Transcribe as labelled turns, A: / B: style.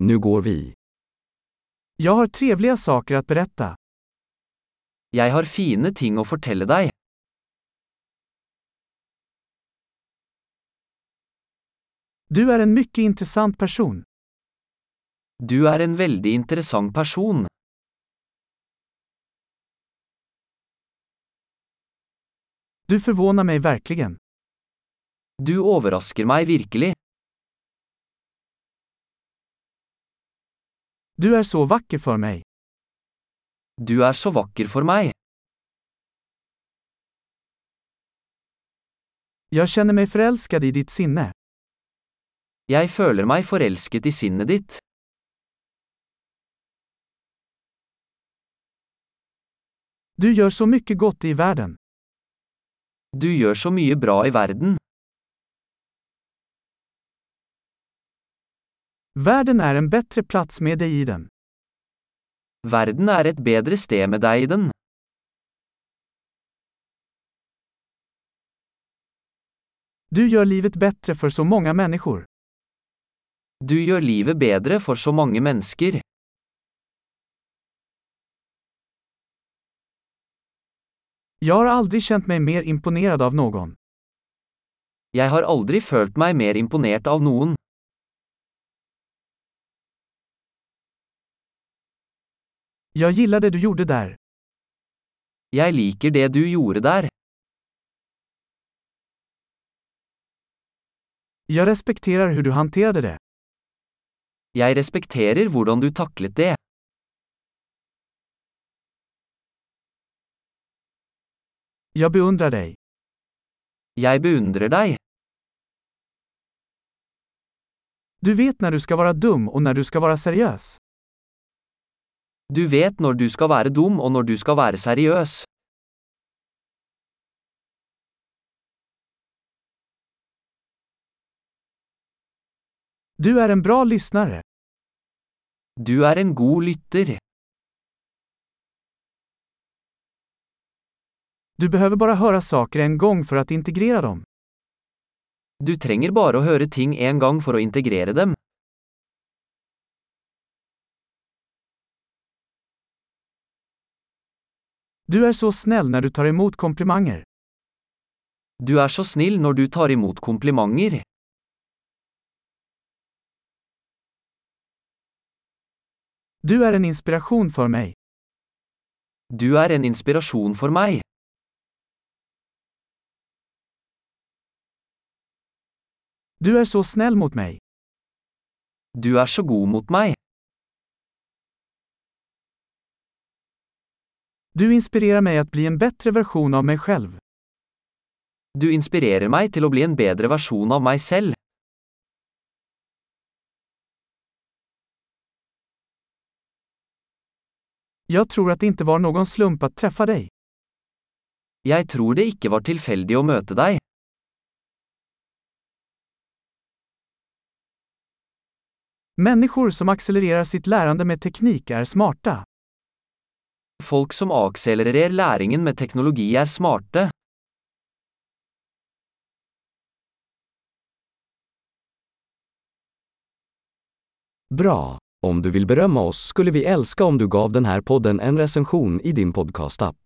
A: Nu går vi.
B: Jag har trevliga saker att berätta.
C: Jeg har fine ting å fortelle deg.
B: Du är en mycket intressant person.
C: Du er en veldig interessant person.
B: Du förvånar mig verkligen.
C: Du overrasker meg virkelig.
B: Du är så vacker för mig.
C: Du er så vakker for meg.
B: Jag känner mig förälskad i ditt sinne.
C: Jeg føler meg forelsket i sinnet ditt.
B: Du gör så mycket gott i världen.
C: Du gjør så mye bra i verden.
B: Världen är en bättre plats med dig i den.
C: Verden er et bedre sted med deg i den.
B: Du gör livet bättre för så många människor.
C: Du gjør livet bedre for så mange mennesker.
B: Jag har aldrig känt mig mer imponerad av någon.
C: Jeg har aldri følt meg mer imponert av noen.
B: Jag gillar det du gjorde där.
C: Jeg liker det du gjorde der.
B: Jag respekterar hur du hanterade det.
C: Jeg respekterer hvordan du taklet det.
B: Jag beundrar dig.
C: Jeg beundrer deg.
B: Du vet när du ska vara dum och när du ska vara seriös.
C: Du vet når du skal være dum og når du skal være seriøs.
B: Du är en bra lyssnare.
C: Du er en god lytter.
B: Du behöver bara höra saker en gång för att integrera dem.
C: Du trenger bare å høre ting en gang for å integrere dem.
B: Du är så snäll när du tar emot komplimanger.
C: Du er så snill når du tar imot komplimenter.
B: Du är en inspiration för mig.
C: Du er en inspirasjon for meg.
B: Du är så snäll mot mig.
C: Du er så god mot meg.
B: Du inspirerar mig att bli en bättre version av mig själv.
C: Du inspirerer meg til å bli en bedre versjon av meg selv.
B: Jag tror att det inte var någon slump att träffa dig.
C: Jeg tror det ikke var tilfeldig å møte deg.
B: Människor som accelererar sitt lärande med teknik är smarta.
C: Folk som akselererer læringen med teknologi er smarte.
A: Bra! Om du vill berömma oss skulle vi älska om du gav den här podden en recension i din podcastapp.